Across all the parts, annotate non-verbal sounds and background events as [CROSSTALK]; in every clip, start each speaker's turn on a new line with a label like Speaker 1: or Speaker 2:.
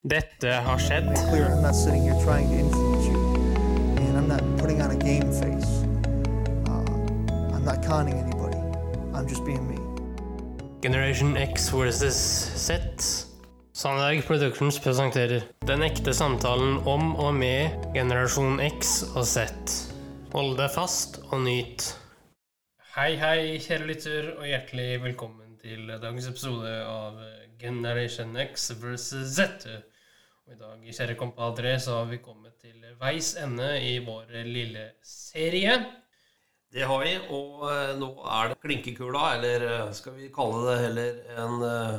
Speaker 1: Dette har skjedd.
Speaker 2: clear. I'm not sitting here trying to influence you, and I'm not putting on a game face. Uh, I'm not conning anybody. I'm just being me.
Speaker 1: Generation X versus Z. Sandberg Productions presenterer Den ekte samtalen om og med generasjon X og Z. Hold deg fast og nyt. Hei, hei, kjære lytter, og hjertelig velkommen til dagens episode av Generation X versus Z. Og I dag, kjære kompadre, så har vi kommet til veis ende i vår lille serie.
Speaker 3: Det har vi, og eh, nå er det klinkekula, eller eh, skal vi kalle det heller en eh,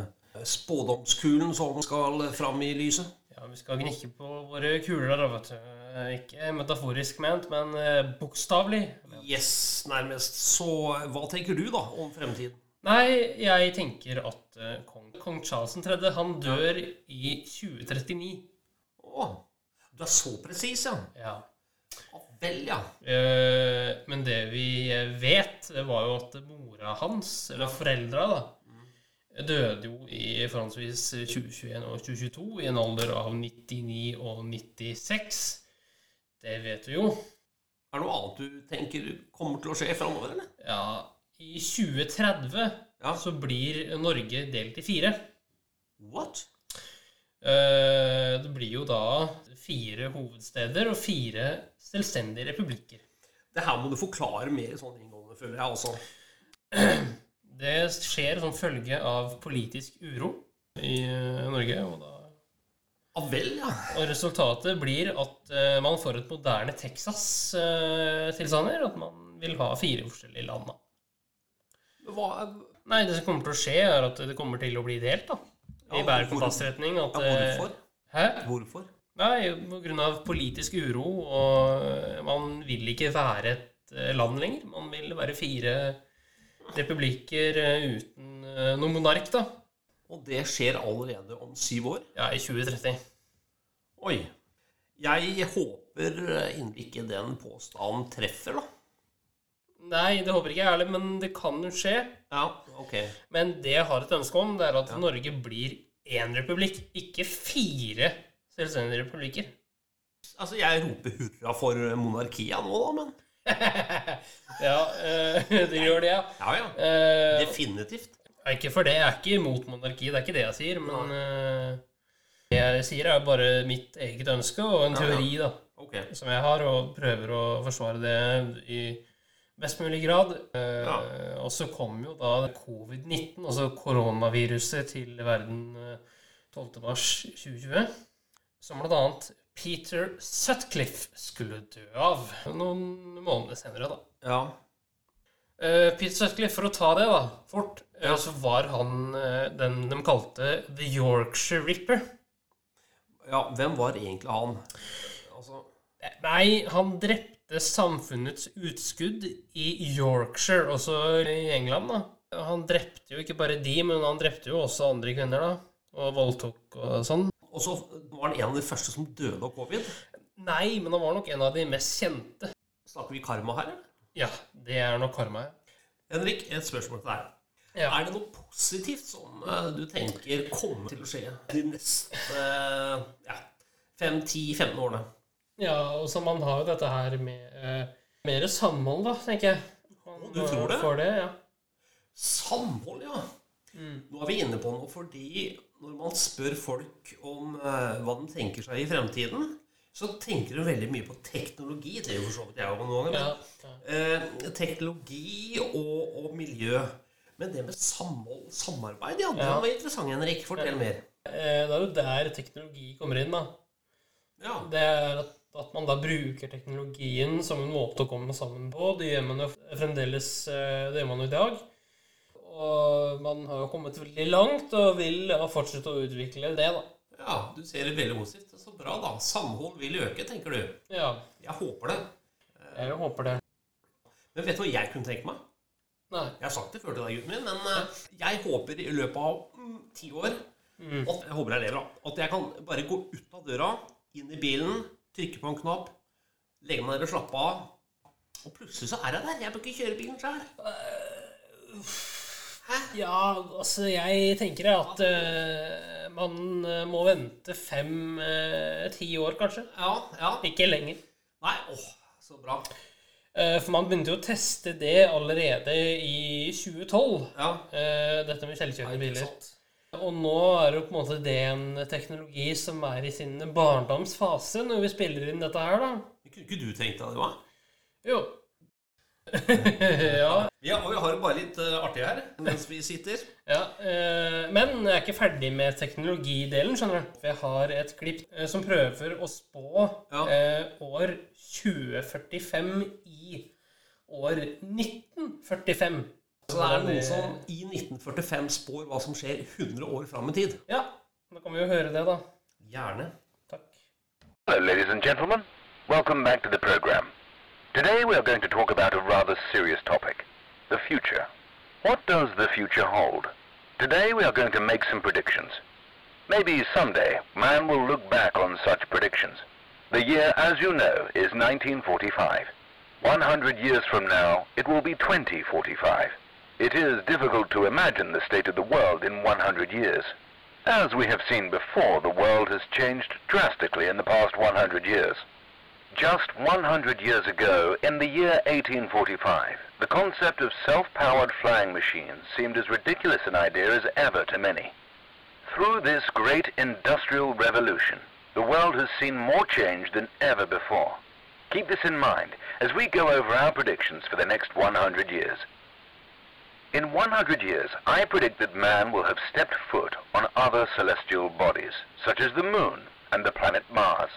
Speaker 3: spådomskulen som skal fram i lyset?
Speaker 1: Ja, vi skal gnikke på våre kuler, da, vet du. Eh, Ikke metaforisk ment, men eh, bokstavelig.
Speaker 3: Yes, nærmest. Så eh, hva tenker du da om fremtiden?
Speaker 1: Nei, jeg tenker at eh, kong, kong Charles 3., han dør i 2039.
Speaker 3: Å, du er så presis, ja.
Speaker 1: Ja.
Speaker 3: Ja vel, ja.
Speaker 1: Eh, Men det vi eh, vet, det var jo at mora hans, eller foreldra, da, døde jo i forholdsvis 2021 og 2022 i en alder av 99 og 96. Det vet vi jo.
Speaker 3: Er det noe annet du tenker kommer til å skje framover, eller?
Speaker 1: Ja, i 2030
Speaker 3: Ja.
Speaker 1: så blir Norge delt i fire.
Speaker 3: What?
Speaker 1: Eh, Det blir jo da fire hovedsteder og fire selvstendige republikker.
Speaker 3: Det her må du forklare mer sånn inngående, føler jeg altså.
Speaker 1: Det skjer som følge av politisk uro i eh, Norge. Og, da.
Speaker 3: Ja vel, ja.
Speaker 1: og resultatet blir at eh, man får et moderne Texas-tilstander. At man vil ha fire forskjellige land. Da.
Speaker 3: Men Hva
Speaker 1: Nei, det som kommer til å skje, er at det kommer til å bli delt, da. I
Speaker 3: Ja,
Speaker 1: bærer
Speaker 3: hvor-
Speaker 1: kontastretning. At,
Speaker 3: ja,
Speaker 1: eh,
Speaker 3: hvorfor?
Speaker 1: Hæ?
Speaker 3: Hvorfor?
Speaker 1: Nei, på grunn av politisk uro, og man vil ikke være et eh, land lenger. Man vil være fire republikker eh, uten eh, noen monark, da.
Speaker 3: Og det skjer allerede om syv år?
Speaker 1: Ja, i 2030.
Speaker 3: Oi. Jeg håper inderlig ikke den påstanden treffer, da.
Speaker 1: Nei, det håper ikke jeg heller, men det kan jo skje.
Speaker 3: Ja, ok.
Speaker 1: Men det jeg har et ønske om, det er at Norge blir én republikk, ikke fire selvstendige republikker.
Speaker 3: Altså, jeg roper hurra for monarkiet nå, da, men
Speaker 1: Ja, eh, [LAUGHS] det gjør det, ja.
Speaker 3: Ja ja.
Speaker 1: Eh,
Speaker 3: Definitivt.
Speaker 1: Nei, ikke for det. Jeg er ikke imot monarki, det er ikke det jeg sier. Men eh, det jeg sier, er bare mitt eget ønske og en
Speaker 3: Ja, ja.
Speaker 1: teori da,
Speaker 3: Ok.
Speaker 1: som jeg har, og prøver å forsvare det i best mulig grad. Eh,
Speaker 3: Ja.
Speaker 1: Og så kom jo da covid-19, altså koronaviruset, til verden eh, 12. mars 2020, som blant annet Peter Sutcliffe skulle dø av noen måneder senere, da.
Speaker 3: Ja.
Speaker 1: Uh, Pete Sutcliffe, for å ta det da, fort, eh, så var han eh, den de kalte The Yorkshire Ripper.
Speaker 3: ja. Hvem var egentlig han? Altså
Speaker 1: Eh, Nei, han drepte samfunnets utskudd i Yorkshire, også i England. da. Han drepte jo ikke bare de, men han drepte jo også andre kvinner, da. Og voldtok og sånn.
Speaker 3: Og så var han en av de første som døde av covid.
Speaker 1: Nei, men han var nok en av de mest kjente.
Speaker 3: Snakker vi karma her, eller?
Speaker 1: Ja, det er nok karma.
Speaker 3: Henrik, et spørsmål til deg.
Speaker 1: Ja.
Speaker 3: Er det noe positivt som eh, du tenker kommer til å skje de neste eh, ja, 5-10-15 årene?
Speaker 1: Ja, og så man har jo dette her med eh, mer samhold, da, tenker jeg. Man,
Speaker 3: du tror
Speaker 1: eh,
Speaker 3: det?
Speaker 1: Får det, ja.
Speaker 3: Samhold, ja. Nå er vi inne på noe, fordi når man spør folk om eh, hva de tenker seg i fremtiden, så tenker de veldig mye på teknologi. Det er jo for så vidt jeg òg noen ganger.
Speaker 1: ja. ja.
Speaker 3: Eh, teknologi og, og miljø. Men det med samhold, samarbeid, ja, det
Speaker 1: Ja.
Speaker 3: var interessant, Henrik. Fortell mer.
Speaker 1: Eh, Det er jo der teknologi kommer inn. da.
Speaker 3: Ja,
Speaker 1: Det er at, at man da bruker teknologien som en måte å komme sammen på. Det gjør man jo fremdeles eh, det gjør man jo i dag. Og man har jo kommet veldig langt og vil ja, fortsette å utvikle det. da.
Speaker 3: ja du ser det veldig positivt. Så bra, da. Samhold vil øke, tenker du.
Speaker 1: Ja,
Speaker 3: Jeg håper det.
Speaker 1: jeg håper det.
Speaker 3: Men vet du hva jeg kunne tenke meg?
Speaker 1: Nei.
Speaker 3: Jeg har sagt det før til deg, gutten min, men eh, jeg håper i løpet av mm, ti år
Speaker 1: Mm.
Speaker 3: at, Jeg håper jeg lever, da. At jeg kan bare gå ut av døra, inn i bilen, trykke på en knapp, legge meg ned og slappe av. Og plutselig så er jeg der. Jeg bør ikke kjøre bilen sjøl.
Speaker 1: Ja, altså jeg tenker at eh, man eh, må vente fem-ti år, kanskje.
Speaker 3: Ja, ja.
Speaker 1: Ikke lenger.
Speaker 3: Nei, åh, så bra.
Speaker 1: Eh, for man begynte jo å teste det allerede i 2012.
Speaker 3: Ja.
Speaker 1: eh, dette med
Speaker 3: Nei,
Speaker 1: selvkjørende
Speaker 3: ikke
Speaker 1: biler.
Speaker 3: sant.
Speaker 1: Og nå er det jo på en måte det en teknologi som er i sin barndomsfase når vi spiller inn dette her, da.
Speaker 3: Kunne ikke du tenkt deg det, hva?
Speaker 1: Jo. ja.
Speaker 3: Ja, og vi har bare litt eh, artig her mens vi sitter.
Speaker 1: Ja, eh, Men jeg er ikke ferdig med teknologidelen, skjønner du. For jeg har et klipp eh, som prøver å spå
Speaker 3: Ja.
Speaker 1: eh, år 2045 i år 1945.
Speaker 3: Så det er noen som i 1945 spår hva som skjer 100 år fram i tid.
Speaker 1: Ja, da kan vi jo høre det, da.
Speaker 3: Gjerne.
Speaker 1: Takk.
Speaker 4: Hello, ladies and gentlemen. Welcome back to the program. Today we are going to talk about a rather serious topic the future. What does the future hold? Today we are going to make some predictions. Maybe someday man will look back on such predictions. The year, as you know, is 1945. 100 years from now, it will be 2045. It is difficult to imagine the state of the world in 100 years. As we have seen before, the world has changed drastically in the past 100 years. Just 100 years ago, in the year 1845, the concept of self-powered flying machines seemed as ridiculous an idea as ever to many. Through this great industrial revolution, the world has seen more change than ever before. Keep this in mind as we go over our predictions for the next 100 years. In 100 years, I predict that man will have stepped foot on other celestial bodies, such as the Moon and the planet Mars.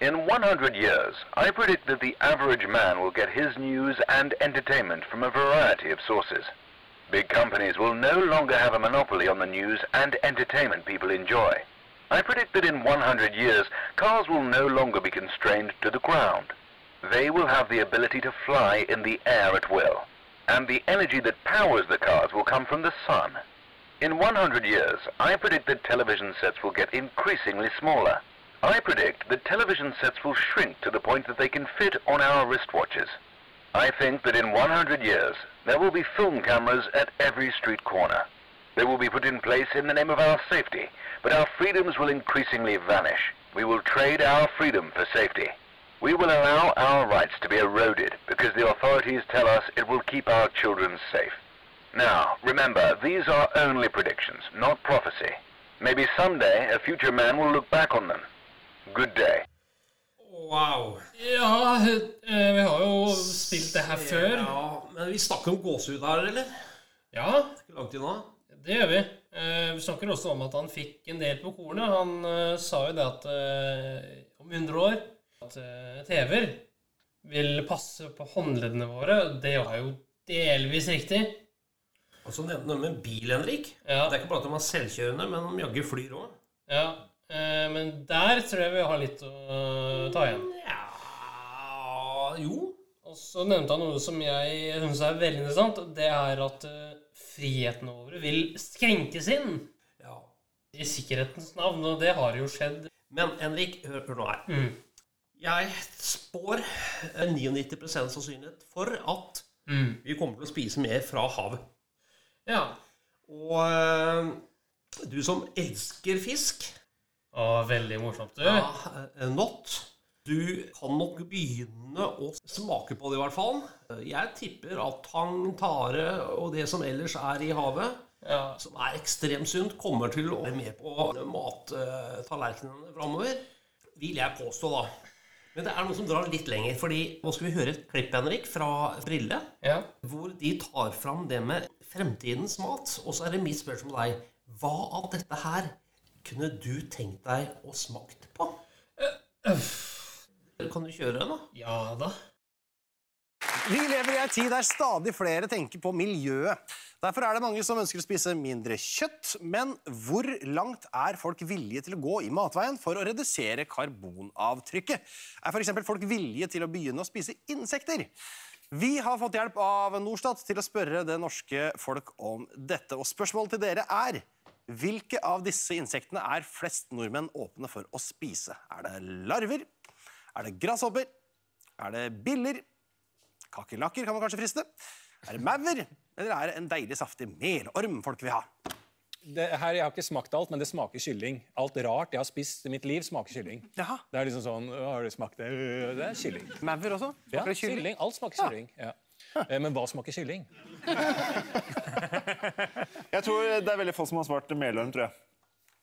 Speaker 4: In 100 years, I predict that the average man will get his news and entertainment from a variety of sources. Big companies will no longer have a monopoly on the news and entertainment people enjoy. I predict that in 100 years, cars will no longer be constrained to the ground. They will have the ability to fly in the air at will, and the energy that powers the cars will come from the sun. In 100 years, I predict that television sets will get increasingly smaller. I predict that television sets will shrink to the point that they can fit on our wristwatches. I think that in 100 years, there will be film cameras at every street corner. They will be put in place in the name of our safety, but our freedoms will increasingly vanish. We will trade our freedom for safety. We will allow our rights to be eroded because the authorities tell us it will keep our children safe. Now, remember, these are only predictions, not prophecy. Maybe someday a future man will look back on them. Good day.
Speaker 3: Wow.
Speaker 1: Ja, eh, vi har jo spilt det her før.
Speaker 3: Ja, men vi snakker om gåsehud her, eller?
Speaker 1: Ja,
Speaker 3: Ikke langt unna.
Speaker 1: Det gjør vi. Eh, vi snakker også om at han fikk en del på kornet. Han eh, sa jo det at eh, om 100 år at eh, TV-er vil passe på håndleddene våre. Det var jo delvis riktig.
Speaker 3: Og så nevnte han en bil, Henrik.
Speaker 1: Ja.
Speaker 3: Det er ikke bare at de er selvkjørende, men de jaggu flyr òg.
Speaker 1: ja. Eh, men der tror jeg vi har litt å eh, ta igjen.
Speaker 3: Ja Jo.
Speaker 1: Og så nevnte han noe som jeg syns er veldig interessant. og Det er at eh, frihetene våre vil skrenkes inn
Speaker 3: Ja.
Speaker 1: i sikkerhetens navn. Og det har jo skjedd.
Speaker 3: Men Henrik, hør, hør nå her.
Speaker 1: Mm.
Speaker 3: Jeg spår eh, 99 sannsynlighet for at
Speaker 1: Mm.
Speaker 3: vi kommer til å spise mer fra havet.
Speaker 1: Ja.
Speaker 3: Og eh, du som elsker fisk
Speaker 1: Å, veldig morsomt, du.
Speaker 3: ja, eh, Not. Du kan nok begynne å smake på det, i hvert fall. Eh, Jeg tipper at tang, tare og det som ellers er i havet,
Speaker 1: Ja.
Speaker 3: som er ekstremt sunt, kommer til å være med på mattallerkenene framover. Vil jeg påstå, da. Men det er noe som drar litt lenger. fordi nå skal vi høre et klipp Henrik, fra Brille,
Speaker 1: Ja.
Speaker 3: hvor de tar fram det med fremtidens mat. Og så er det mitt spørsmål til deg. Hva av dette her kunne du tenkt deg å smakt på? Eh, Kan du kjøre en, da?
Speaker 1: ja da.
Speaker 5: Vi lever i en tid der stadig flere tenker på miljøet. Derfor er det mange som ønsker å spise mindre kjøtt. Men hvor langt er folk villige til å gå i matveien for å redusere karbonavtrykket? Er f.eks. folk villige til å begynne å spise insekter? Vi har fått hjelp av Norstat til å spørre det norske folk om dette. Og spørsmålet til dere er hvilke av disse insektene er flest nordmenn åpne for å spise? Er det larver? Er det gresshopper? Er det biller? Kakerlakker kan man kanskje friste. Er det maur, eller er det en deilig, saftig melorm folk vil ha?
Speaker 6: Det her, Jeg har ikke smakt alt, men det smaker kylling. Alt rart jeg har spist i mitt liv, smaker kylling.
Speaker 5: Jaha.
Speaker 6: Det er liksom sånn «Å, Har du smakt det? Øh, Det er kylling.
Speaker 5: Maur også?
Speaker 6: Ja,
Speaker 5: Smaker det kylling?
Speaker 6: kylling. Alt smaker kylling. Ja. Eh, Men hva smaker kylling?
Speaker 7: Jeg tror det er veldig få som har svart melorm, tror jeg.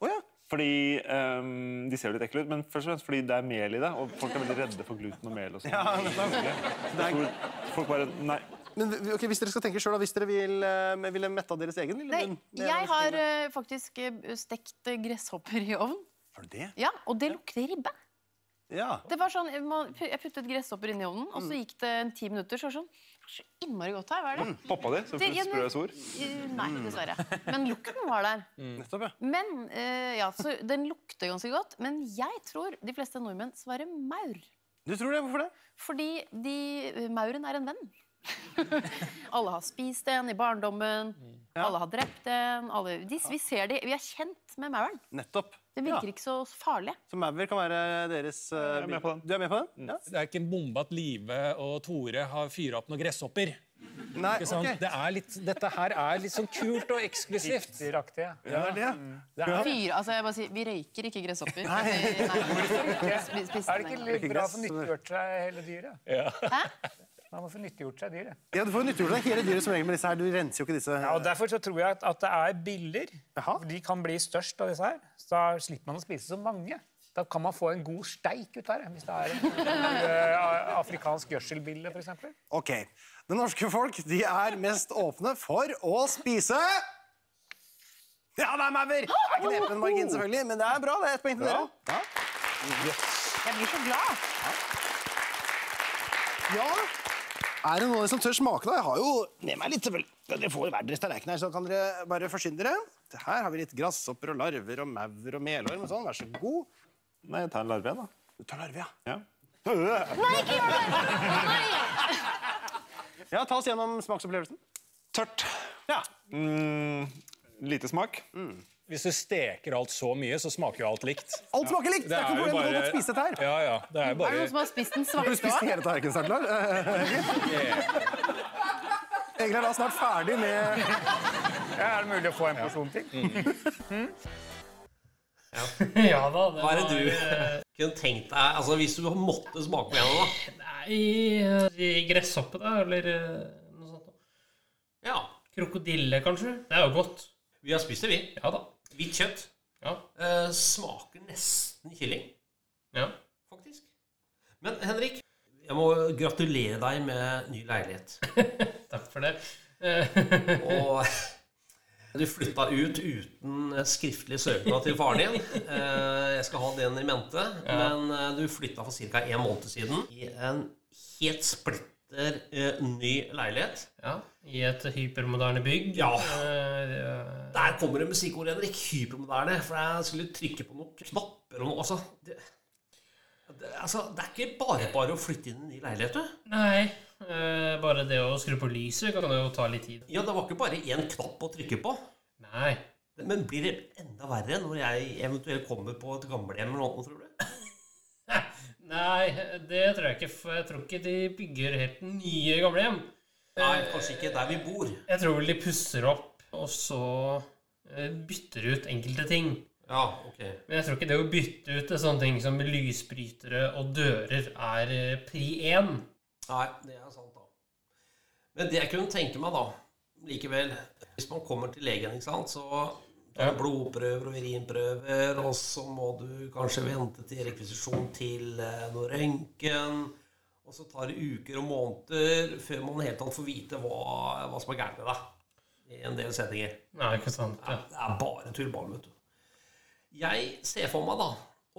Speaker 5: Å ja.
Speaker 7: Fordi ehm, De ser jo litt ekle ut, men først og fremst fordi det er mel i det. Og folk er veldig redde for gluten og mel. og sånt. Jeg tror Folk bare Nei.
Speaker 5: Men v- ok, hvis dere skal tenke selv, da, hvis dere vil, eh, ville metta deres egen lille
Speaker 8: Nei,
Speaker 5: munn med-
Speaker 8: jeg har eh, faktisk eh, stekt eh, gresshopper i ovn.
Speaker 5: Har du det?
Speaker 8: Ja, Og det lukter ribbe.
Speaker 5: Ja.
Speaker 8: Det var sånn, man- Jeg puttet gresshopper inn i ovnen, og så
Speaker 7: Mm.
Speaker 8: gikk det en ti minutter. Så var det sånn "Det er Så innmari godt her. Hva er det?
Speaker 7: Pappa di, Mm, så
Speaker 8: Det- ja,
Speaker 7: sprø Mm.
Speaker 8: men-
Speaker 7: sor.
Speaker 8: Eh, Nei, dessverre. Men lukten var der.
Speaker 5: Nettopp, ja.
Speaker 8: Men eh, ja, så Den lukter ganske godt, men jeg tror de fleste nordmenn svarer maur.
Speaker 5: Du tror det? Hvorfor det?
Speaker 8: Fordi de, mauren er en venn. alle har spist en i barndommen, alle har drept en. Alle, de, vi, ser de, vi er kjent med mauren.
Speaker 5: Nettopp.
Speaker 8: Den
Speaker 5: Ja.
Speaker 8: virker ikke så farlig.
Speaker 5: Så maur kan være deres eh,
Speaker 7: er med på den.
Speaker 5: Du er med på den? Ja.
Speaker 6: Det er ikke en bombe at Live og Tore har fyra opp noen gresshopper.
Speaker 9: Mm.
Speaker 5: Nei,
Speaker 6: Ikke sant?
Speaker 5: ok.
Speaker 6: Det er litt, dette her er litt sånn kult og eksklusivt.
Speaker 5: Ja, det er det.
Speaker 8: Fyr, altså jeg bare sier, Vi røyker ikke gresshopper. Nei. Spi- spiser
Speaker 9: Er det
Speaker 8: dem
Speaker 9: ikke
Speaker 8: ikke.
Speaker 9: litt bra å få nyttiggjort seg hele dyret?
Speaker 8: Hæ?
Speaker 9: Man må få nyttiggjort seg dyret.
Speaker 5: Ja, du får jo nyttiggjort deg hele dyret som regel med disse her. Du renser jo ikke disse.
Speaker 9: Ja, og Derfor så tror jeg at, at det er biller.
Speaker 5: Jaha.
Speaker 9: for De kan bli størst av disse her. Så da slipper man å spise så mange. Da kan man få en god steik ut der, hvis det er en
Speaker 6: [LAUGHS]
Speaker 9: eh, afrikansk gjødselbille f.eks.
Speaker 5: Ok. Det norske folk de er mest åpne for å spise Ja, det er maur! Det er ikke nepen margin, selvfølgelig, men det er bra. Det er ett poeng til dere. Ja.
Speaker 8: Jeg blir så glad.
Speaker 5: Ja. Er det noen av dere som tør smake, da? Jeg har jo ned meg litt. selvfølgelig. Dere får hver deres tallerken her, så kan dere bare forsyne dere. Her har vi litt grasshopper og larver og maur og melorm og sånn. Vær så god.
Speaker 7: Nei, jeg tar en larve, jeg, da.
Speaker 5: Du tar larve, ja.
Speaker 7: Ja.
Speaker 8: Nei, ikke gjør det! Nei.
Speaker 5: Ja, Ta oss gjennom smaksopplevelsen.
Speaker 7: Tørt.
Speaker 5: Ja.
Speaker 7: Mm, lite smak.
Speaker 6: Hvis du steker alt så mye, så smaker jo alt likt.
Speaker 5: Alt smaker likt! Det er ikke noe problem. Du kan godt spise dette her.
Speaker 6: Ja, ja. Det er
Speaker 8: Er det
Speaker 6: bare
Speaker 8: noen som har spist den
Speaker 5: Har
Speaker 8: svarte
Speaker 5: du spist
Speaker 8: også?
Speaker 5: hele tallerkenen snart, Lars?
Speaker 9: [LAUGHS]
Speaker 5: Egil er da snart ferdig med
Speaker 9: Ja, er det mulig å få en porsjon til?
Speaker 1: [LAUGHS] ja da, det
Speaker 3: Hva er det
Speaker 1: var,
Speaker 3: du
Speaker 1: eh,
Speaker 3: [LAUGHS] kunne tenkt deg altså Hvis du måtte smake på en av dem,
Speaker 1: Nei, eh, i gresshoppe, da, eller eh, noe sånt. da.
Speaker 3: da? Ja.
Speaker 1: Krokodille, kanskje? Det er jo godt.
Speaker 3: Vi har spist det, vi.
Speaker 1: Ja da.
Speaker 3: Hvitt kjøtt.
Speaker 1: Ja.
Speaker 3: Eh, smaker nesten kylling,
Speaker 1: ja.
Speaker 3: faktisk. Men Henrik, jeg må gratulere deg med ny leilighet.
Speaker 1: Takk for det. Eh, [LAUGHS]
Speaker 3: Og [LAUGHS] du flytta ut uten skriftlig søknad til faren din. Eh, Jeg skal ha den i mente. Men eh, du flytta for ca. en måned siden i en helt splitter eh, ny leilighet.
Speaker 1: ja. I et hypermoderne bygg.
Speaker 3: Ja.
Speaker 1: Eh,
Speaker 3: Der kommer det musikkord, Henrik. Hypermoderne. For jeg skulle trykke på noen knapper og noe. Altså, det, det, altså, det er ikke bare bare å flytte inn i en ny leilighet, du.
Speaker 1: Nei. eh, bare det å skru på lyset kan jo ta litt tid.
Speaker 3: Ja, det var ikke bare én knapp å trykke på.
Speaker 1: Nei.
Speaker 3: Men blir det enda verre når jeg eventuelt kommer på et gamlehjem eller noe, tror du?
Speaker 1: Nei, det tror jeg ikke. For jeg tror ikke de bygger helt nye gamlehjem.
Speaker 3: Nei, kanskje ikke der vi bor.
Speaker 1: Jeg tror vel de pusser opp, og så eh, bytter ut enkelte ting.
Speaker 3: Ja, ok.
Speaker 1: Men jeg tror ikke det å bytte ut til sånne ting som lysbrytere og dører er eh, pri én.
Speaker 3: Nei, det er sant, da. Men det jeg kunne tenke meg, da, likevel Hvis man kommer til legen, ikke sant, så tar du blodprøver og urinprøver, og så må du kanskje vente til rekvisisjon til eh, noe røntgen. Og så tar det uker og måneder før man i det hele tatt får vite hva, hva som er gærent med deg. I en del settinger.
Speaker 1: Nei, ikke sant. Ja.
Speaker 3: Ja, det er bare tull, bare, vet du. Jeg ser for meg, da,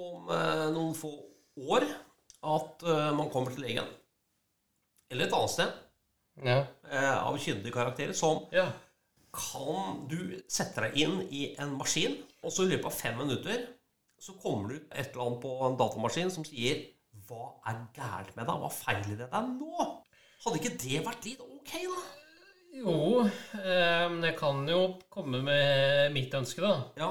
Speaker 3: om eh, noen få år, at eh, man kommer til legen, eller et annet sted,
Speaker 1: Ja.
Speaker 3: eh, av kyndige karakterer, som
Speaker 1: ja.
Speaker 3: kan du sette deg inn i en maskin, og så i løpet av fem minutter så kommer du et eller annet på en datamaskin som sier Hva er gærent med deg? Hva feiler det deg nå? Hadde ikke det vært litt ok, da?
Speaker 1: Jo, eh, men jeg kan jo komme med mitt ønske, da.
Speaker 3: Ja.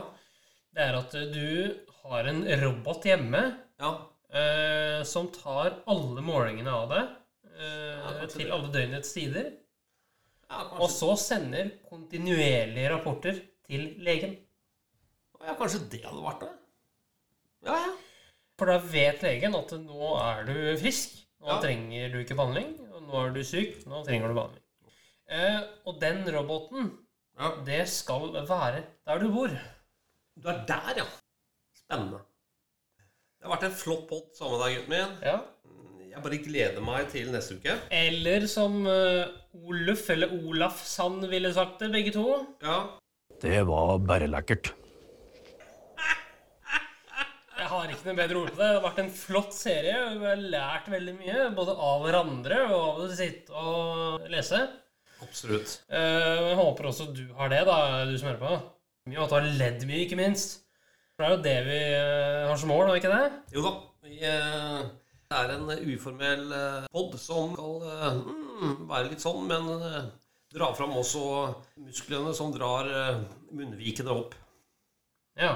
Speaker 1: Det er at eh, du har en robot hjemme
Speaker 3: Ja.
Speaker 1: eh, som tar alle målingene av deg eh,
Speaker 3: kanskje
Speaker 1: til
Speaker 3: det.
Speaker 1: alle døgnets tider. Og så sender kontinuerlige rapporter til legen.
Speaker 3: Ja, kanskje det hadde vært det.
Speaker 1: For da vet legen at nå er du frisk. Nå
Speaker 3: Ja.
Speaker 1: trenger du ikke behandling. Og nå er du syk. Nå trenger du behandling. Eh, og den roboten,
Speaker 3: Ja.
Speaker 1: det skal være der du bor.
Speaker 3: Du er der, ja. Spennende. Det har vært en flott pott sammen med deg, gutten min.
Speaker 1: Ja.
Speaker 3: Jeg bare gleder meg til neste uke.
Speaker 1: Eller som eh, Oluf eller Olaf Sand ville sagt det, begge to.
Speaker 3: Ja.
Speaker 6: Det var bare lekkert.
Speaker 1: Jeg har ikke noe bedre ord på det. Det har vært en flott serie. og Vi har lært veldig mye, både av hverandre og av å sitte og lese.
Speaker 3: Absolutt.
Speaker 1: Eh, Jeg håper også du har det, da, du som hører på. Mye at du har ledd mye, ikke minst. For det er jo det vi eh, har som mål, er det ikke det?
Speaker 3: Jo da. Vi, eh, det er en uformell pod som skal eh, mm, være litt sånn, men eh, dra fram også musklene som drar eh, munnvikene opp.
Speaker 1: Ja.